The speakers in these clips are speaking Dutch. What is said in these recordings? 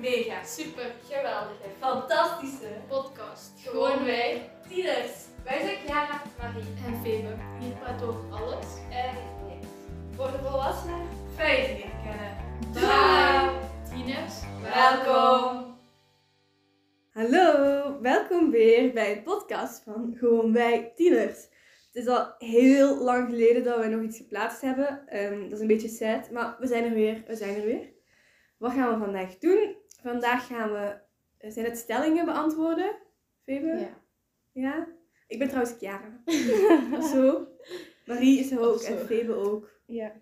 Mega. Super Geweldige Fantastische. podcast. Gewoon wij. Tieners. Wij zijn Chiara, Marie En Febe. Hier praat over alles. en niks. Voor de volwassenen. Fijn leren kennen. Tieners. Welkom. Hallo, welkom weer bij een podcast van Gewoon Wij Tieners. Het is al heel lang geleden dat we nog iets geplaatst hebben. Ehm, dat is een beetje sad, maar we zijn er weer. We zijn er weer. Wat gaan we vandaag doen? Vandaag gaan we, eh, zijn het stellingen beantwoorden? Febe? Ja. Ja? Ik ben trouwens Chiara. of zo. Marie is er ook Of zo. en Febe ook. Ja.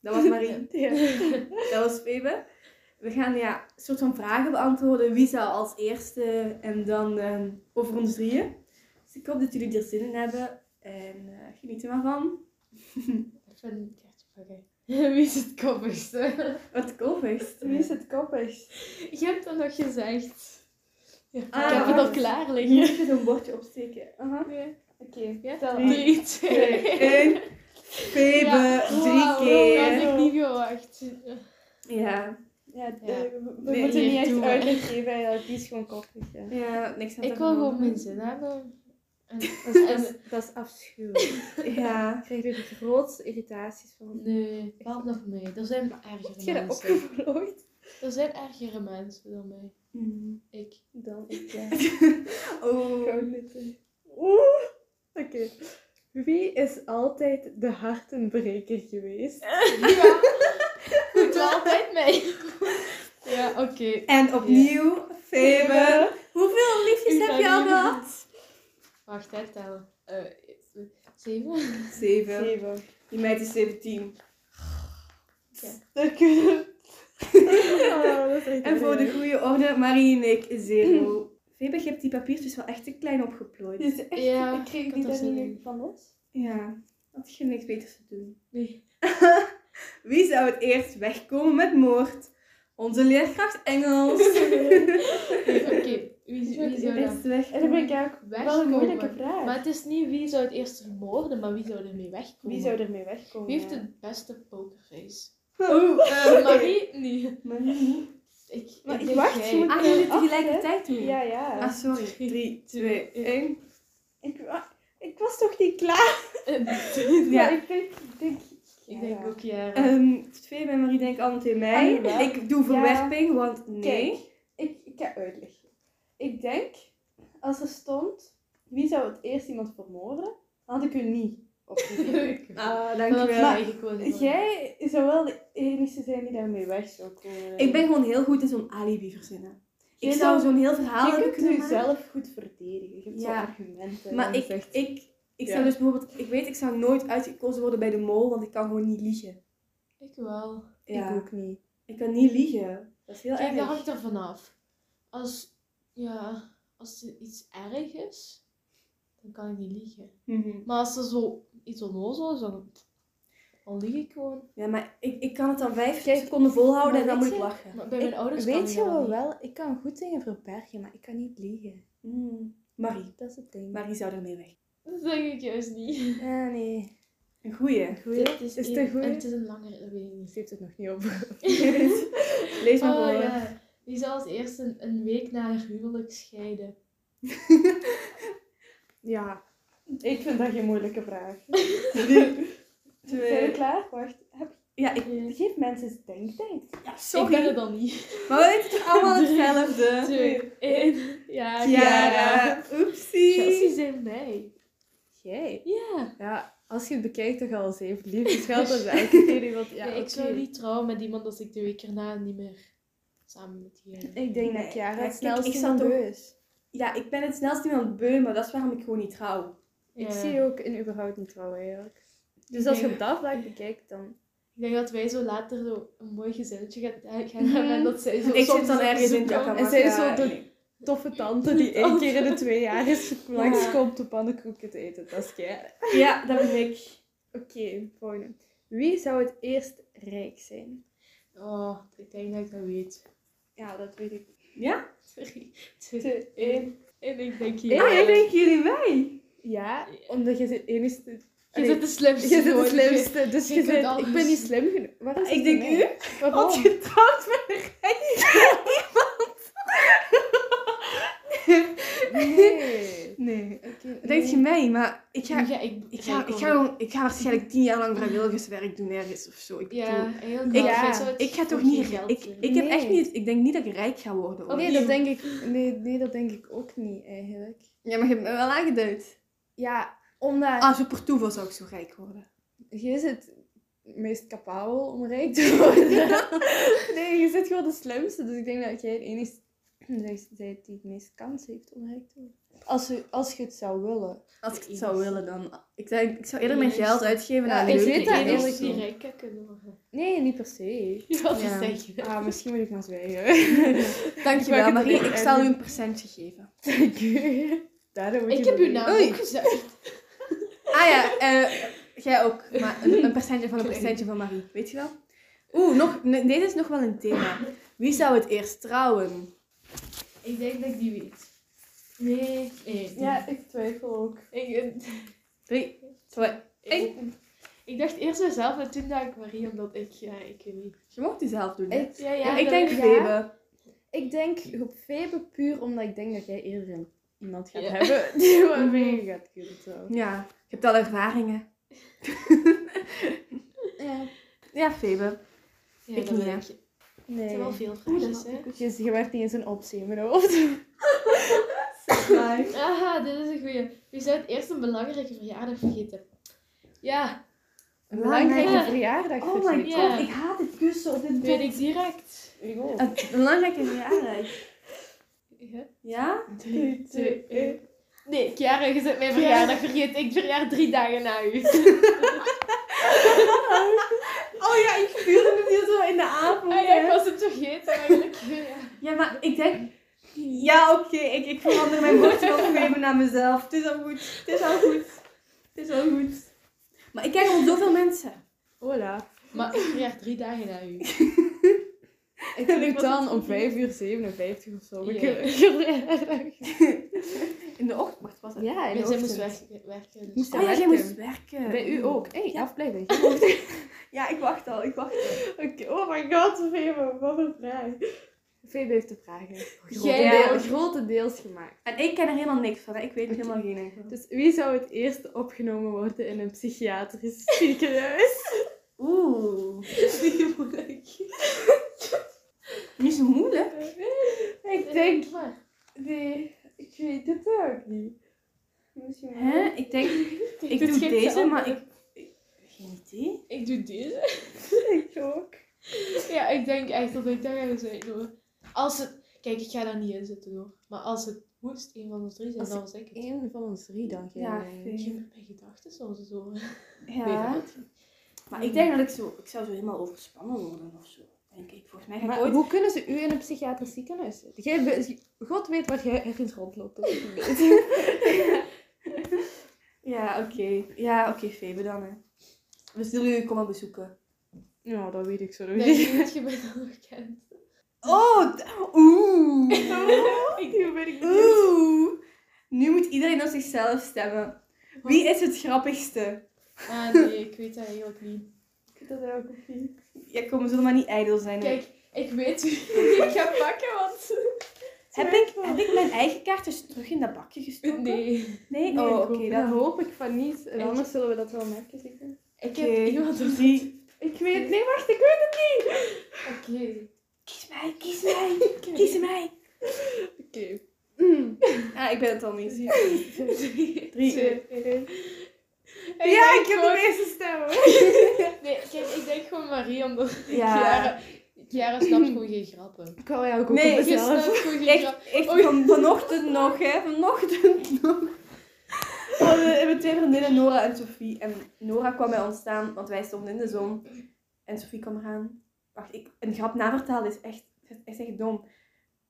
Dat was Marie. Ja. Dat was Febe. We gaan ja, een soort van vragen beantwoorden. Wie zou als eerste en dan ehm, over ons drieën. Dus ik hoop dat jullie er zin in hebben. En eh, geniet er maar van. Ik vind het oké. Wie is het koppigste? Wat koppigst. Wie is het koppigst? Je hebt dat nog gezegd. Ja, Ah, ik heb het al wacht. klaar liggen. Hier zo'n bordje opsteken. Aha. Oké, Ja? tel Drie, Drie, Twee, twee. één. Febe, Ja. drie Dat keer. had ik niet verwacht. Ja. Ja, d- Ja. eh, we- we Nee, moeten hier niet echt doen we. uitleg geven. Ja, die is gewoon koppig. Ja. ja, niks aan Ik wil gewoon mijn zin hebben. En, Dat, is, en- dat is afschuwelijk. Ja. Ik krijg er de grootste irritaties van. nee, valt nog mee. Er zijn Heb je ergere dat mensen. opgevlogen? Er zijn ergere mensen dan mij. Ik. Dan ik, ja. Oh. Gewoon niet. Oeh. Oké. Wie is altijd de hartenbreker geweest? Ja. Goed, wel altijd mee. Ja, oké. En opnieuw, Febe. Hoeveel Ik liefjes heb je ben al niet- gehad? Wacht, hè, tellen. Eh, zeven? Zeven. Zeven. Die meid is 17. Dat kunnen oh, dat is echt En voor de erg. goede orde, Marie en ik, zero. Febe, je hebt die papiertjes wel echt te klein Die opgeplooid. is echt- Ja, ik kreeg ik die had daar er zin niet in. meer van los. Ja, had je niks beters te doen. Nee. Wie zou het eerst wegkomen met moord? Onze leerkracht Engels. Oké, wie, wie zou dat Eerst weg. En dan ben ik ook wel een moeilijke wegkomen? vraag. Maar het is niet wie zou het eerst vermoorden, maar wie zou ermee wegkomen? Wie zou ermee wegkomen? Wie heeft ja? het beste pokerface? Oh, Eh, Marie? Nee. Marie. Ik, Maar ik ik denk wacht, jij. je moet- Ah, jullie Acht, hè? tegelijkertijd doen. Ja, ja. Ah, sorry. 3, 2, 1. Ik, wa- ik was toch niet klaar? Ja. Maar ik denk... Ik denk, Ik denk ja. Eh, ook ja. Febe en Ehm, Marie denken allemaal tegen Ah, jawel. mij. Ik doe Ja. verwerping, want nee. Kijk, ik, ik ga uitleggen. Ik denk, als er stond wie zou het eerst iemand vermoorden, dan had ik u niet opgegeven. Ah, Dat dankjewel. had ik gekozen. Jij zou wel de enige zijn die daarmee weg zou komen. Ik ben gewoon heel goed in zo'n alibi verzinnen. Ik Jij zou zou- zo'n heel verhaal Je hebben kunt kunnen u maken. zelf goed verdedigen. Je hebt zo'n Ja. argumenten. Maar en ik, zegt- ik, ik Ja. zou dus bijvoorbeeld... Ik weet, ik zou nooit uitgekozen worden bij de mol, want ik kan gewoon niet liegen. Ik wel. Ja. ik Ik, ook niet. kan niet liegen. Dat is heel Kijk, dat erg. hangt er vanaf. Als, ja, als er iets erg is, dan kan ik niet liegen. Mhm. Maar als er zo iets onnozel is, dan, dan lieg ik gewoon. Ja, maar ik, ik kan het dan vijf Kijk, seconden volhouden en maar dan moet weet ik je- lachen. Maar bij mijn ouders kan weet ik je dat wel, niet. wel, ik kan goed dingen verbergen, maar ik kan niet liegen. Mm. Marie. Dat is het ding. Marie zou ermee weg. Dat denk ik juist niet. Ah, nee. Een goeie. Goeie. Dit is, Is het één- een goeie? Het is een langere, dat weet ik niet. Ze heeft het nog niet over. Lees maar Oh voor. ja. Die zal als eerste een, een week na haar huwelijk scheiden. Ja, ik vind dat geen moeilijke vraag. Zijn we Twee. klaar? Wacht. Heb, Ja, ik, Eh, geef mensen eens denktijd. ja, Ik ben sorry. er dan niet. Maar we weten toch allemaal hetzelfde? Twee, één. Ja, Chiara. Chiara. Oepsie. Chelsea zijn mij. Jij? Ja. Ja, als je het bekijkt, toch al zeven liefjes geldt dat eigenlijk keer iemand... Ja, Nee, ik zou oké. niet trouwen met iemand als ik de week erna niet meer samen met diegene. Ik denk Nee, dat Chiara kijk, het snelst ik ik, zat iemand ook- beu is. Ja, ik ben het snelst iemand beu, maar dat is waarom ik gewoon niet trouw. Ik Ja. zie je ook in überhaupt niet trouwen, eigenlijk. Dus als je Nee. op dat vlak bekijkt, dan... Ik denk dat wij zo later zo een mooi gezinnetje gaan, gaan hebben en dat zij zo Mhm. Ik soms zit dan op ergens in bezoek komen. Jakarta. En zij is zo de toffe tante die één keer in de twee jaar is langskomt om pannenkoeken te eten. Dat is Chiara. Ja, dat ben ik. Oké, volgende. Wie zou het eerst rijk zijn? Oh, ik denk dat ik dat weet. Ja, dat weet ik. Ja? Sorry. Twee, één. En ik denk hier. Ja, ik denk jullie mij. Ja, omdat je de enigste... Je Allee, zit de slimste. Je bent de geworden. slimste, dus je je kunt bent- alles. ik ben niet slim genoeg. Waar is Ik het denk mee? u. Waarom? Want je trouwt met een rijk iemand. mij, maar ik ga, Ik ik ga, ga, ik, ik ga, gewoon- ik ga waarschijnlijk tien jaar lang vrijwilligerswerk doen ergens of zo. Ik, Ja, bedoel, heel ik, Ja. knap. Zo- ik ga toch voor niet... geen geld Ik, hier. ik, heb echt Nee. niet, ik denk niet dat ik rijk ga worden. hoor. Oh, Nee, dat denk ik, nee, nee, dat denk ik ook niet eigenlijk. Ja, maar je hebt me wel aangeduid. Ja, omdat Ah, zo per toeval zou ik zo rijk worden. je is het meest capabel om rijk te worden. nee, je zit gewoon de slimste. Dus ik denk dat jij de enige bent die het meest kans heeft om rijk te worden. Als je, als je het zou willen. Als ik De het zou enigste. willen, dan... Ik, denk, ik zou eerder mijn Eerst. geld uitgeven Ja, aan ik leuke weet dat dingen of eerlijk eerst zo. die rijken kunnen worden. Nee, niet per se. Wat Ja. zeg je? Ah, misschien moet ik maar zwijgen. Ik Dankjewel, maak het Marie. er Ik echt zal u uit. een percentje geven. Dank je. Daarom moet Ik je heb uw me- naam Oei. ook gezegd. Ah ja, eh, jij ook. Maar een, een percentje van een percentje van Marie. Weet je wel? Oeh, nog, nee, deze is nog wel een thema. Wie zou het eerst trouwen? Ik denk dat ik die weet. Nee. Nee. Ja, ik twijfel ook. Ik, eh, Drie, twee. ik, ik dacht eerst mezelf en toen dacht ik Marie, omdat ik, ja, ik weet niet. Je mocht die zelf doen. hè? Ik, Ja, ja, Ja, dat- ik denk ja. Febe. ik denk op Febe puur omdat ik denk dat jij eerder een- iemand gaat Ja. hebben die waarmee je gaat kunnen trouwen. Ja, je hebt al ervaringen. Ja. Ja, Febe. ja, ik dat niet, ben hè. ik. Het Nee. zijn wel veel Oeh, vraagjes, hè. Je, je werd niet eens een optie in mijn hoofd. Aha, dit is een goeie. Wie zou het eerst een belangrijke verjaardag vergeten? Ja, Een belangrijke Ja. verjaardag Oh vergeten. my vergeten. god, ik haat het kussen op dit weet bed. ik direct. Ik ook. Een belangrijke verjaardag. Ja. Ja? Drie, twee, één. eh. Nee, Chiara, je zit mijn verjaardag vergeten. Ik verjaar drie dagen na u. Oh ja, ik vuurde het hier zo in de avond. Ah, ja, ik was het vergeten eigenlijk. Ja. Oh Ja, maar ik denk... Ja, oké. Ik, ik verander mijn woord wel even naar mezelf. Het is al goed. Het is al goed. Het is al goed. Maar ik kijk op zoveel mensen. Hola. Maar ik verjaar drie dagen na u. Ik doe was dan het om 5 uur 57 of zo. Ja. Ik- verjaardag. In de ochtend was Ja, in de Maar zij moest ochtend. werken. werken dus. Moest Oh ja, jij werken. moest werken. Bij u ook. Hé, hey, afblijven. Ja, ik wacht al. Ik wacht Oké, oh my god, Febe, wat een vraag. Febe heeft de vragen. Jij Grotendeel- ook. grotendeels gemaakt. En ik ken er helemaal niks van. hè. Ik weet er helemaal geen enkel. Dus wie zou het eerst opgenomen worden in een psychiatrisch ziekenhuis? Oeh. Niet zo moeilijk. ik maar. Nee, ik weet het ook niet. Misschien Hè? Ik denk... Ik doe geeft ze deze, maar antwoord. ik... ik- Geen idee. Ik doe deze. ik ook. Ja, ik denk echt dat ik daar ga zijn hoor. Als het... Kijk, ik ga daar niet in zitten hoor. Maar als het moest een van ons drie zijn, Als dan was ik het. Eén van ons drie dan. jij. Ja, Ik Febe. heb mijn gedachten soms zo. Ja. Maar ik denk dat ik zo, ik zou zo helemaal overspannen worden of zo. Denk ik. Volgens mij ga ik Maar ooit... hoe kunnen ze u in een psychiatrisch ziekenhuis zetten? Jij be- God weet waar jij ergens rondloopt. dat weet ik niet. Ja, oké. Ja, oké, Febe dan, hè. We zullen jullie komen bezoeken. nou, dat weet ik zo Denk niet. je dat je mij dan nog kent? Oh, d- oeh. Ik weet ik Oeh. Nu moet iedereen op zichzelf stemmen. Wie is het grappigste? Ah nee, ik weet dat eigenlijk niet. Dat ook niet. Ja, kom, we zullen maar niet ijdel zijn. hè. Kijk, ik weet wie ik ga pakken, want... heb, ik, heb ik mijn eigen kaart dus terug in dat bakje gestoken? Nee. Nee? Nee, oh, oké. dat dan... hoop ik van niet. En Ik- anders zullen we dat wel merken, zeker. Ik Oké. heb iemand op die... Drie. Ik weet, nee, wacht, ik weet het niet. Oké. Kies mij, kies mij, kies mij. Oké. Ah, ik ben het al niet. Drie. Twee. Ja, ik heb de meeste stemmen. Nee, kijk, ik denk gewoon Marie, omdat Ja. Chiara... Chiara snapt gewoon geen grappen. Ik hou jou ook Nee, op Je mezelf. snapt gewoon geen grappen. Echt, echt van, vanochtend nog, hè? Vanochtend nog. Hadden we hebben twee vriendinnen, Nora en Sophie. En Nora kwam bij ons staan, want wij stonden in de zon. En Sophie kwam eraan. Wacht, ik, een grap navertalen is echt, is echt dom.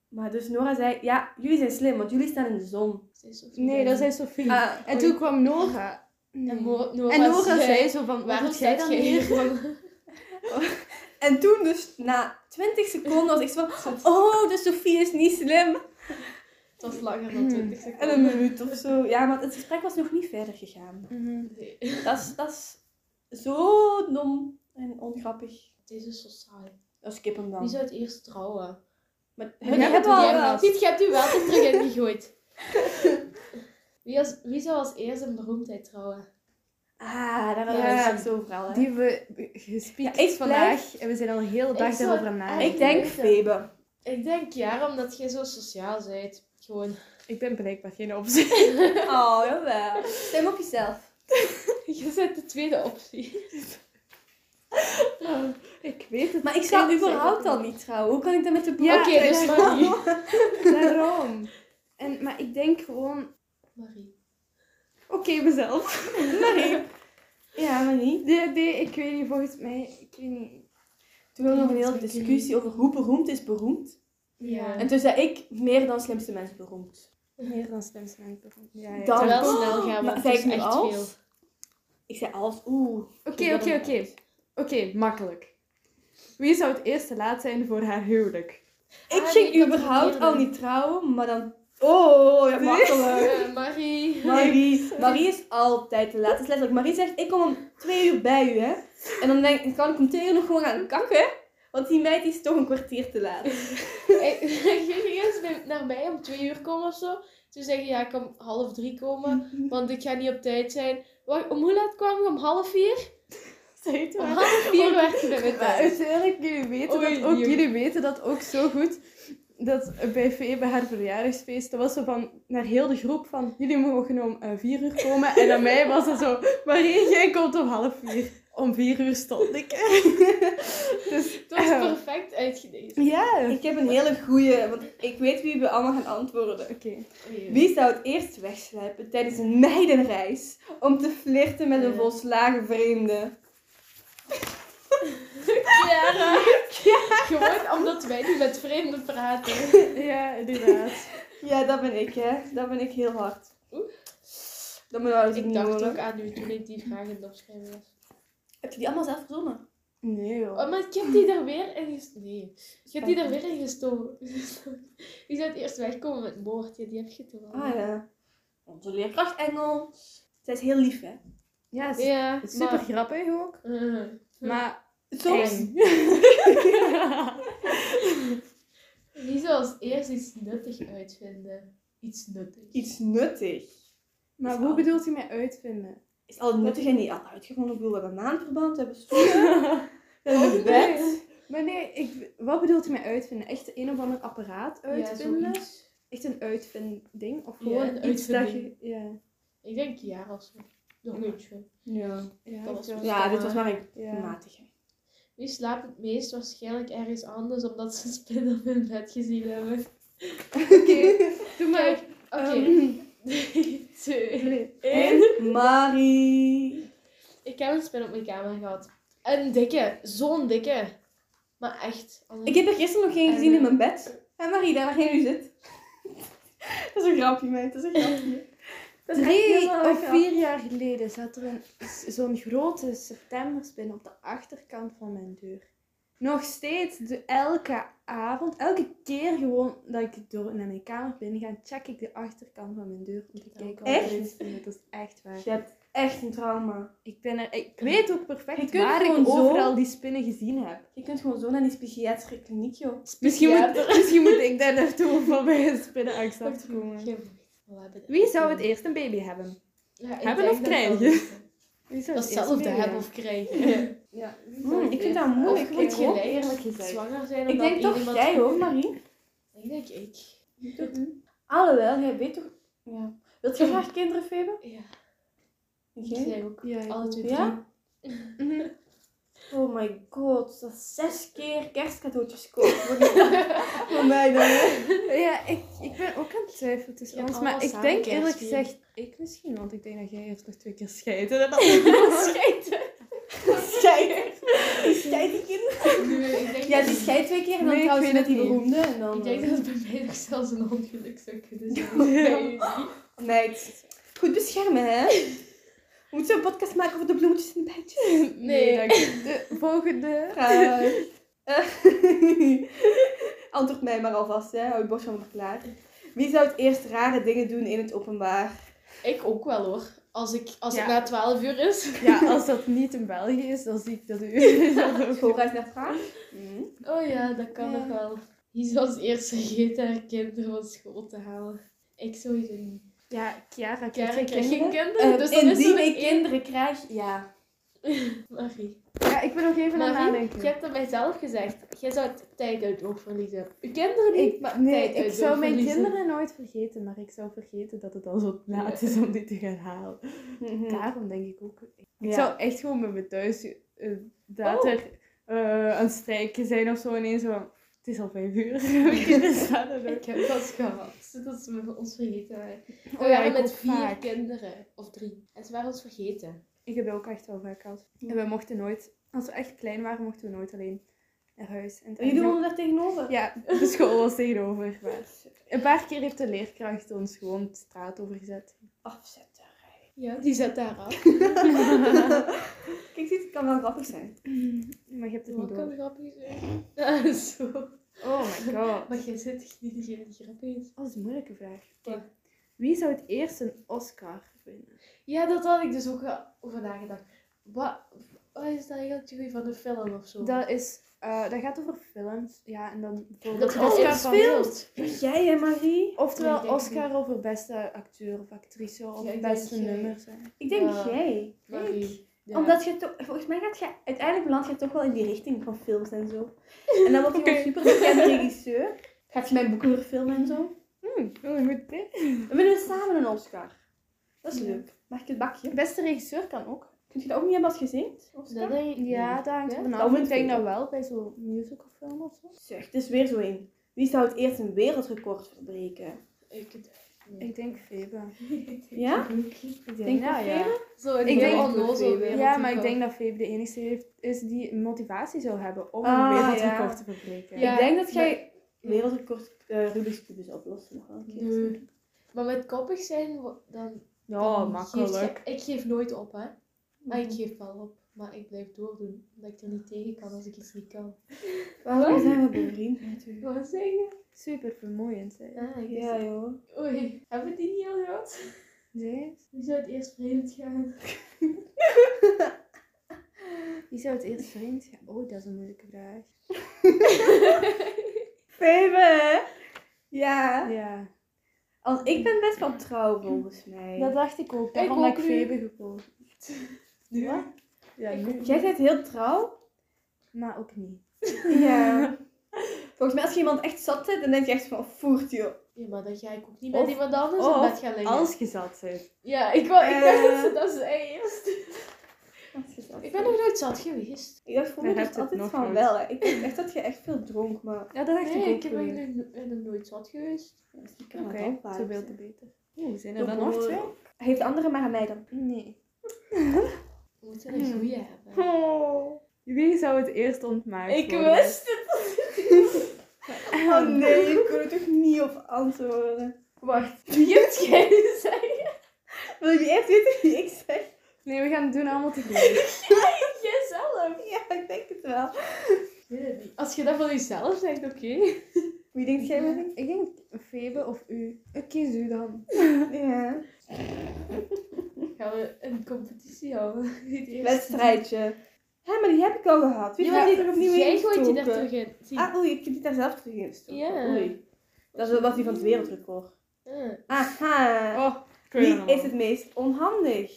Maar dus Nora zei, ja, jullie zijn slim, want jullie staan in de zon. Nee, dat zei Sophie. Ah, en toen kwam Nora. En Mo- Nora, En Nora zei... zei zo van, Waarom waarom jij dan staat jij hier? hier? en toen dus, na 20 seconden, was ik zo van, oh, dus Sophie is niet slim. Het was langer dan Hmm. 20 En seconden. een minuut of zo. Ja, maar het gesprek was nog niet verder gegaan. Nee. Dat is, dat is zo dom en ongrappig. Deze is zo saai. Dat skip hem Wie dan. zou het eerst trouwen? Maar hebben het al al Jij- wel. Piet, je hebt u wel terug in gegooid. Wie, als, wie zou als eerste een beroemdheid trouwen? Ah, daar Ja. hadden we het zo verhaal. hè. Die we gespiekt Ja, ik vandaag. En we zijn al heel de dag zou daarover het aan nadenken. eigenlijk- Ik denk weten. Febe. Ik denk ja, omdat jij zo sociaal bent. Gewoon. Ik ben blijkbaar geen optie. Oh, jawel. Stem op jezelf. Je bent de tweede optie. ik weet het Maar ik zou überhaupt al niet trouwen. Hoe kan ik dat met de broer? Ja, Oké, eh, dus Marie. Daarom. En, maar ik denk gewoon... Marie. Oké, mezelf. Marie. Ja, maar niet. Nee, nee, ik weet niet. Volgens mij... Ik weet niet. Toen hadden we nog een hele discussie over hoe beroemd is beroemd. Ja. En toen zei ik meer dan slimste mensen beroemd. Meer dan slimste mensen. bijvoorbeeld. Ja, ja. Dan- Het zou wel Oh, snel gaan, maar want het zei is ik nu echt als? veel. Ah, Ik zei als, oeh. Oké, oké, oké. Oké, makkelijk. Wie zou het eerste laat zijn voor haar huwelijk? Ik Ah, ging die kan überhaupt proberen. al niet trouwen, maar dan... Oh, ja, makkelijk. Eh, Marie. Marie. Marie is altijd te laat. Het is letterlijk. Marie zegt, ik kom om twee uur bij u, hè. En dan denk ik, kan ik om twee uur nog gewoon gaan kakken? Want die meid die is toch een kwartier te laat. Ik ik ging eerst bij- naar mij om twee uur komen of zo. Toen zeg je, ja, ik kan om half drie komen, want ik ga niet op tijd zijn. Wacht, om hoe laat kwam je? Om half vier? Zeg Om half vier werd je bij mij Maar thuis. uiteindelijk, jullie weten, Oei, dat ook, joe. jullie weten dat ook zo goed. Dat bij Febe haar verjaardagsfeest, dat was zo van naar heel de groep van jullie mogen om eh, vier uur komen. En aan mij was dat zo, Marie, jij komt om half vier. Om vier uur stond ik. er. dus, Het was perfect uitgenezen. Ja. Oké. Ik heb een hele goeie, want ik weet wie we allemaal gaan antwoorden. Wie zou het eerst wegslijpen tijdens een meidenreis om te flirten met een Ja. volslagen vreemde? Chiara. Gewoon omdat wij niet met vreemden praten. Ja, inderdaad. Ja, dat ben ik, hè. Dat ben ik heel hard. Dat ben ik wel eens Ik niet dacht nodig. ook aan u toen ik die vraag in het opschrijven was. Heb je die allemaal zelf verzonnen? Nee joh. Oh, maar ik heb die er weer in gestoken. Nee. Je hebt die er weer in gestoken. Die zou het eerst wegkomen met moord. Ja, die heb je toen al. Ah ja. Onze leerkracht Engels. Zij is heel lief, hè. Ja, s- Ja, maar- super grappig ook. Eh. Maar Soms. eng. Wie zou als eerst iets nuttig uitvinden? Iets nuttig. Iets nuttig. maar Is hoe al- bedoelt u mij uitvinden? Is al nuttig en niet al uitgevonden. Ik bedoel, we hebben een maandverband, we hebben stoelen, we Eh, hebben een bed. Maar nee, ik, wat bedoelt u mij uitvinden? Echt een of ander apparaat uitvinden? Ja, zoiets. Echt een uitvinding? Of Ja, gewoon een iets dat je... uitvinding. Ja. Ik denk ja of zo. Nog eentje. Ja. Ja, Dat was ik wel- wel. Ja, dit was maar een ja. matige. Wie slaapt het meest waarschijnlijk ergens anders omdat ze een spin op hun bed gezien hebben? Oké, Kijk, doe maar. oké. Ehm, Drie, twee, nee. één. Marie. Ik heb een spin op mijn kamer gehad. Een dikke. Zo'n dikke. Maar echt. Ik heb er gisteren nog geen gezien in mijn bed. En Marie, daar waar jij nu zit. Dat is een grapje, meid. Dat is een grapje. Dat is echt Drie helemaal een of grap. vier jaar geleden zat er een- s- zo'n grote septemberspin op de achterkant van mijn deur. Nog steeds, de, elke avond, elke keer gewoon dat ik door naar mijn kamer binnen ga, check ik de achterkant van mijn deur om te kijken wat Echt? erin zit. Dat is echt waar. Je hebt echt een trauma. Ik, ben er, ik weet ook perfect Je kunt waar ik gewoon zo- overal die spinnen gezien heb. Je kunt gewoon zo naar die psychiatrische kliniek, joh. Misschien, Ja. moet, misschien moet ik daar naartoe om van mijn spinnenangst af te komen. heb... Wie zou het eerst een baby hebben? hebben of krijgen? Wie zou het eerst Datzelfde een baby hebben of krijgen. Ja, wie Hmm, zou het ik vind eerst- dat moeilijk. Of moet hoor. gelijk eerlijk gezegd. zwanger zijn Ik omdat denk toch iemand- jij hoor, Marie. Ik denk ik. Alhoewel, jij weet toch... Ja. Wilt je graag kinderen, Febe? Ja, ik Geen? zei ook. Ja, ik Alle twee Ja? drie. Mhm. Oh my god, dat is zes keer kerstcadeautjes kopen. Voor mij dan. hè? Ja, ik, ik ben ook aan het twijfelen tussen Ja, ons. allemaal Maar ik samen denk eerlijk kerstvieren. gezegd... Ik misschien, want ik denk dat jij eerst nog twee keer scheiden. En dan Scheiden. Die scheiden kinderen. Nee, ik denk Ja, dat- die scheidt twee keer en dan Nee, ik trouwt ze weet met die het niet. beroemde. En dan... Ik denk dat het bij mij nog zelfs een ongeluk zou kunnen zijn. eh, Meid, goed beschermen, hè? We moeten een podcast maken over de bloemetjes en de bijtjes. nee, Nee. dank je. De volgende... Graag. Antwoord mij maar alvast, hè? Hou je borst maar klaar. Wie zou het eerst rare dingen doen in het openbaar? Ik ook wel hoor. Als, ik, als Ja. het na 12 uur is. Ja, als dat niet in België is, dan zie ik dat u... dat ook- Schoolreis naar Praag? Hmm. Oh ja, dat kan Ja. nog wel. Die zou als eerst vergeten haar kinderen van school te halen. Ik sowieso niet. Ja, Chiara, krijg Karen je krijgt geen kinderen? Eh, kinderen, dus dan is er indien nog ik één. kinderen krijg, ja. Marie, Ja, ik ben nog even aan het Marie nadenken. je hebt het mij zelf gezegd. Jij zou het tijd uit het oog verliezen. Je kinderen niet. Ik, maar nee, tijd uit ik wil zou mijn verliezen. kinderen nooit vergeten, maar ik zou vergeten dat het al zo laat is om die te gaan halen. Mhm. Daarom denk ik ook. Ik Ja. zou echt gewoon met mijn thuis eh, Oh. later eh, aan het strijken zijn of zo. Ineens zo, het is al vijf uur. Mijn kinderen staan er nog. Ik heb dat gehad. Dus Oh Dat is me voor ons vergeten. waren. We ja, waren ik met ook vier vaak. kinderen. Of drie. En ze waren ons vergeten. Ik heb dat ook echt wel vaak gehad. En we mochten nooit, als we echt klein waren, mochten we nooit alleen naar huis. En het Jullie wonen daar tegenover? Ja, de school was tegenover. Maar een paar keer heeft de leerkracht ons gewoon de straat overgezet. Afzetterij. Ja, die zet daar af. Kijk, dit kan wel grappig zijn. Maar je hebt het niet Wat kan door. grappig zijn? Ah, zo. Oh my god. Maar jij zit niet degene die grappig is. Dat is een moeilijke vraag. Wat? Wie zou het eerst een Oscar winnen? Ja, dat had ik dus ook wel over nagedacht. Wat, wat is dat regeltje van de film of zo? Dat is, eh, dat gaat over films. Ja, en dan bijvoorbeeld Dat Oscar speelt. Jij en Marie? Oftewel Nee, ik denk Oscar over beste acteur of actrice of ik beste denk eh, jij. nummer. zijn. Ik denk Ja. jij. Marie. Ja. Omdat je toch, volgens mij gaat je, uiteindelijk beland je toch wel in die richting van films en zo. En dan word je een super bekende regisseur. Gaat je mijn boeken weer filmen en zo. Hm, wel een goed idee. Dan winnen we samen een Oscar. Dat is Ja. leuk. Mag ik het bakje? Beste regisseur kan ook. Kun je dat ook niet hebben als je zingt? Oscar? Dat denk ik Ja, niet. daar hangt Ja? het vanaf. Dat moet Ik denk ik. dat wel bij zo'n musicalfilm of zo. Zeg, het is weer zo één. Wie zou het eerst een wereldrecord verbreken? Ik het Ik denk Febe. Ja? Ik Denk je nou, ja. Zo, Ik denk onnozel weer. Ja, maar ik denk dat Febe de enige heeft, is die motivatie zou hebben om Ah, een wereldrecord ja. te verbreken. Ja. Ik denk dat jij wereldrecord eh, Rubik's Cube zou oplossen nog wel een keer. Nee. Maar met koppig zijn, wo- dan... Ja, dan Oh, makkelijk. Mhm. geef je- ik geef nooit op, hè. Maar ik geef wel op. Maar ik blijf doordoen. Omdat ik er niet tegen kan als ik iets niet kan. Waarom zijn we bevriend met u? Wat zeggen? Super vermoeiend. Hè. Ah, ik Ja joh. Oei, hebben we die niet al gehad? Nee? Wie zou het eerst vreemd gaan? Wie zou het eerst vreemd gaan? Oh, dat is een moeilijke vraag. Baby! Ja. Ja. Als, ik ben best wel trouw volgens mij. Dat dacht ik ook. Daarom Daarom heb heb ik ik Febe gekozen. nu? Ja, Ik nu. Jij bent heel trouw. Maar ook niet. Ja. volgens mij als je iemand echt zat zit, dan denk je echt van voert joh. Ja, maar dan ga ik ook niet Of- met iemand anders of in bed gaan liggen. Als je zat bent. Ja, ik, wou, ik dacht dat ze Eh. dat zei eerst. Als je zat Ik ben zit. nog nooit zat geweest. Ik dacht voor Dan mij heb dat je altijd het nog van nooit. wel. Hè. Ik dacht echt dat je echt veel dronk, maar... Ja, dat dacht Nee, ik ik heb ook. Oké, eigenlijk nog- ben nog nooit zat geweest. Oké, te veel te beter. Oeh, zijn er dan nog Doe- twee? Heeft andere maar aan mij dan. Nee. We moeten Hm. een goeie hebben. Wie zou het eerst ontmaakt Ik worden? wist het! Oh nee, ik kon er toch niet op antwoorden. Wacht, Wie hebt jij gezegd? wil je echt weten wie ik zeg? Nee, we gaan het doen allemaal tegelijk. Jijzelf! Ja, ik denk het wel. Als je dat van jezelf zegt, oké. Wie denkt jij met ik denk Febe of u. Ik kies u dan. Ja. Gaan we een competitie houden? Wie het eerst- Wedstrijdje. Hé, maar die heb ik al gehad. Wie Ja, gaat die maar er opnieuw in Jij gooit die daar stoppen? terug in. Zie. Ah, oei, ik heb die daar zelf terug in gestoken. Ja. Oei. Dat is- was die van het wereldrecord. Ah. Aha. Oh, Wie is het meest onhandig?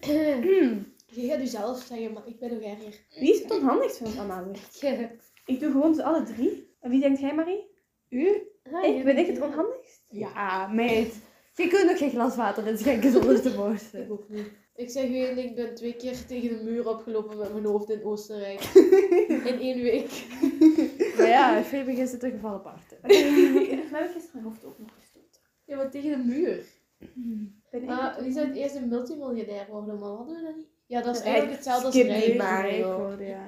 Je gaat jezelf zeggen, maar ik ben nog erger. Wie is het onhandigst van ons allemaal? weer? Je- Ik doe gewoon ze alle drie. En wie denkt jij, Marie? U? Ah, Ik, je ben bent ik het erger. onhandigst? Ja, meid. Je kunt nog geen glas water inschenken zonder te Ik borsten. ook niet. Ik zeg u eerlijk, ik ben twee keer tegen de muur opgelopen met mijn hoofd in Oostenrijk. in één week. Maar ja, Febe is het een geval apart. hè. Volgens mij heb ik gisteren mijn hoofd ook nog gestoten. Ja, maar tegen de muur. Ben ik Maar het Ah, wie zou het eerst een multimiljardair worden? Maar hadden we dat niet? Ja, dat is Rijk. eigenlijk hetzelfde als Skip rijk. die maar. Rijk joh. worden, ja.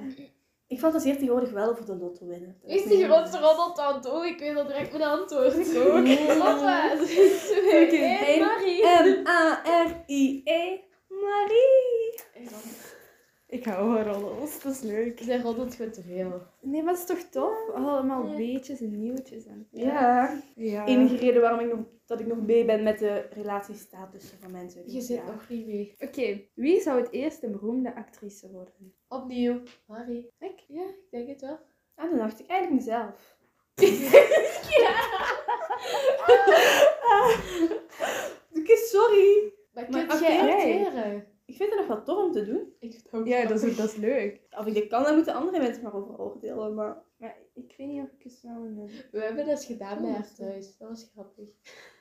Ik fantaseer tegenwoordig wel over de lotto winnen. Dat Wie is is die niet- grootste roddeltante? Oh, ik weet al direct mijn antwoord. Ik ook. Papa, twee, Oké. één, Marie. M-A-R-I-E. Marie. Ik hou van roddels, dat is leuk. Zij roddelt gewoon te veel. Nee, maar dat is toch tof? Allemaal weetjes en nieuwtjes. En... Ja. Ja. Oké, Enige reden waarom ik nog, dat ik nog mee ben met de relatiestatussen van mensen. Je zit Ja. nog niet mee. wie zou het eerst een beroemde actrice worden? Opnieuw. Marie. Ik? Ja, ik denk het wel. Ah, dan dacht ik eigenlijk mezelf. ja! Ik Ah. Oké, sorry. Maar Maar kunt jij acteer jij? acteren? Ik vind het nog wel tof om te doen. Ik vind het ook Ja, dat is, dat is leuk. Of ik dit kan, daar moeten andere mensen maar over oordelen. Maar Maar ik weet niet of ik het snel in We hebben dat gedaan bij Oh, haar zo. thuis. Dat was grappig.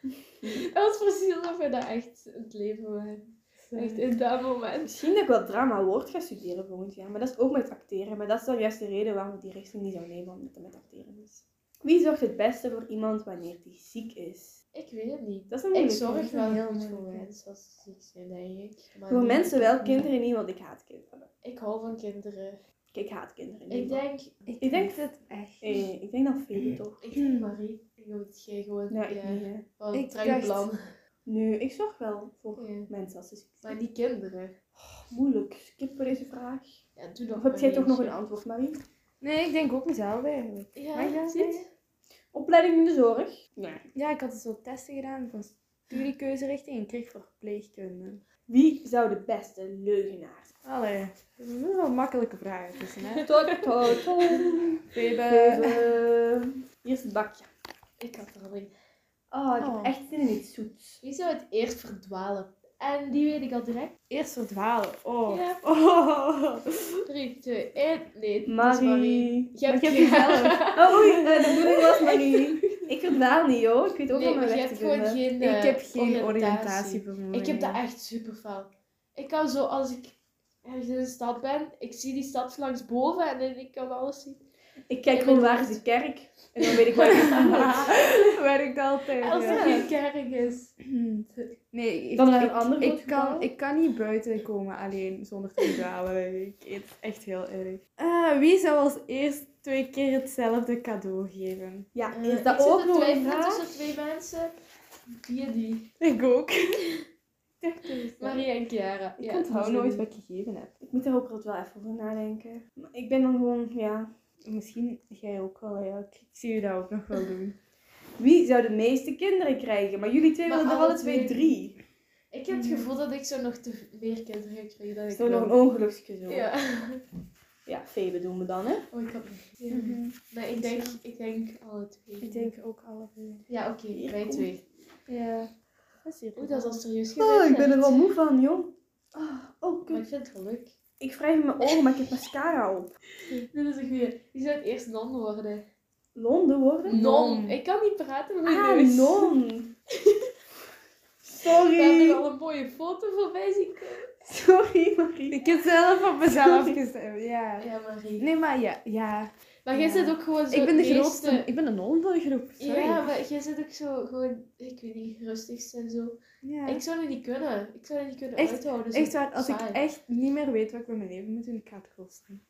dat was precies alsof we dat echt in het leven waren. Echt in dat moment. misschien dat ik wel drama woord ga studeren volgend jaar. Maar dat is ook met acteren. Maar dat is dan juist de reden waarom ik die richting niet zou nemen, omdat het met acteren is. Wie zorgt het beste voor iemand wanneer die ziek is? Ik weet het niet. Dat is een Ik moeilijke. zorg wel heel goed voor moeilijk. mensen als ze ziek zijn, denk ik. Maar Voor niet- mensen wel, kinderen niet, want ik haat kinderen. Ik hou van kinderen. Ik haat kinderen niet. Ik denk, Ik denk het echt. Eh, ik denk dat veel toch? ik denk Marie. Ik hoop dat jij gewoon Nee, ik ja, niet, hè. van Ik een dacht- plan. Nee, ik zorg wel voor Ja. mensen als ze ziek Maar zijn. die kinderen. Moeilijk. Skip voor deze vraag. Ja, doe nog Of heb jij toch nog een eentje. antwoord, Marie? Nee, ik denk ook mezelf eigenlijk. Mag ik Ja, dat zie je? zeggen? Opleiding in de zorg? Nee. Ja, ik had dus zo testen gedaan van studiekeuzerichting en ik kreeg verpleegkunde. Wie zou de beste leugenaar zijn? Allee, er zijn wel makkelijke vragen tussen, hè? Tot, tot, Bebe. Hier is het bakje. Ik had er al een. Oh, ik heb Oh. echt zin in iets zoets. Wie zou het eerst verdwalen? En die weet ik al direct. Eerst verdwalen. Oh. Ja, Oh. 3, 2, 1. Nee, dat is Marie. Je hebt, Maar ik geen- heb jezelf. Oh, oei, eh, de bedoeling was Marie. Ik verdwaal niet, hoor. Ik weet ook Nee, wel mijn maar je weg te hebt gewoon vinden. geen, eh, Ik heb geen oriëntatie vermogen. Ik heb dat echt super fel. Ik kan zo, als ik ergens in een stad ben, ik zie die stad langs boven en dan- ik kan alles zien. Ik kijk Ik gewoon weet waar het. is de kerk. En dan weet ik waar ik sta. Werkt altijd. Als ja. er geen kerk is. Nee, ik, Dan naar een ik, ander groot ik, kan, gebouw? ik kan niet buiten komen alleen zonder te dwalen. ik eet echt heel erg. Eh, wie zou als eerst twee keer hetzelfde cadeau geven? Ja, Eh, is dat ik zit ook te nog een twijfelen vraag? tussen twee mensen. Die en die. Ik ook. Maria en Chiara. Ik Ja, onthoud die nooit zijn- wat ik gegeven heb. Ik moet daar ook wel even over nadenken. Maar ik ben dan gewoon, ja... Misschien jij ook wel, ja. Ik ik zie je dat ook nog wel doen. Wie zou de meeste kinderen krijgen? Maar jullie twee Maar willen er alle alle twee twee. drie. Ik heb het gevoel dat ik zo nog te meer kinderen heb gekregen dan ik Is er Mm. nog wil. een ongeluksje zo? Ja. Ja. Febe doen we dan, hè? Oh, ik had ja. Mhm. Nee, ik denk, ik denk alle twee. Ik denk ook alle twee. Ja, oké, Hier wij komt- twee. Ja. Dat is hier. Oeh, dat is al serieus geweest. Oh, ik ben hè? er wel moe van, joh. Ah, oh, Maar kut. ik vind het wel leuk. Ik wrijf mijn ogen, maar ik heb mascara op. Dit is een goeie. Die zou het eerst non worden. Londen worden? Non. Ik kan niet praten met mijn Ah, neus. non. We hebben Sorry. al een mooie foto voorbij zien komen. Sorry, Marie. Ik heb zelf op mezelf gestemd, ja. Ja, Marie. Nee, maar ja. ja. Maar jij Ja. zit ook gewoon zo Ik ben de het meeste- grootste. Ik ben de non van de groep. Sorry. Ja, maar jij zit ook zo gewoon, ik weet niet, rustig en zo. Ja. Ik zou het niet kunnen. Ik zou het niet kunnen Echt- uithouden. zo Echt waar, als ik saai. echt niet meer weet wat ik met mijn leven moet doen, ik ga het gewoon staan.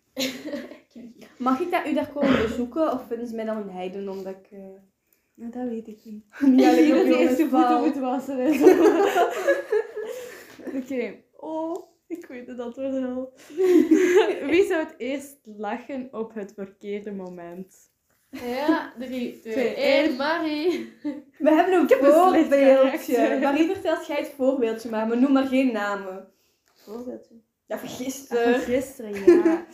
Mag ik daar u daar komen bezoeken? Of vinden ze mij dan een heiden omdat ik... eh, Nou, dat weet ik niet. niet alleen Iedereen op die jongens eerst zijn voeten val? moet wassen en zo. Oké. Oh, ik weet het antwoord al. Wie zou het eerst lachen op het verkeerde moment? Ja, 3, 2, Twee, 1, één. Marie. We hebben een een slecht voorbeeldje. karakter. Marie vertelt jij het voorbeeldje maar, maar noem maar geen namen. Voorbeeldje. Ja, vergis Ah, van er. gisteren, ja.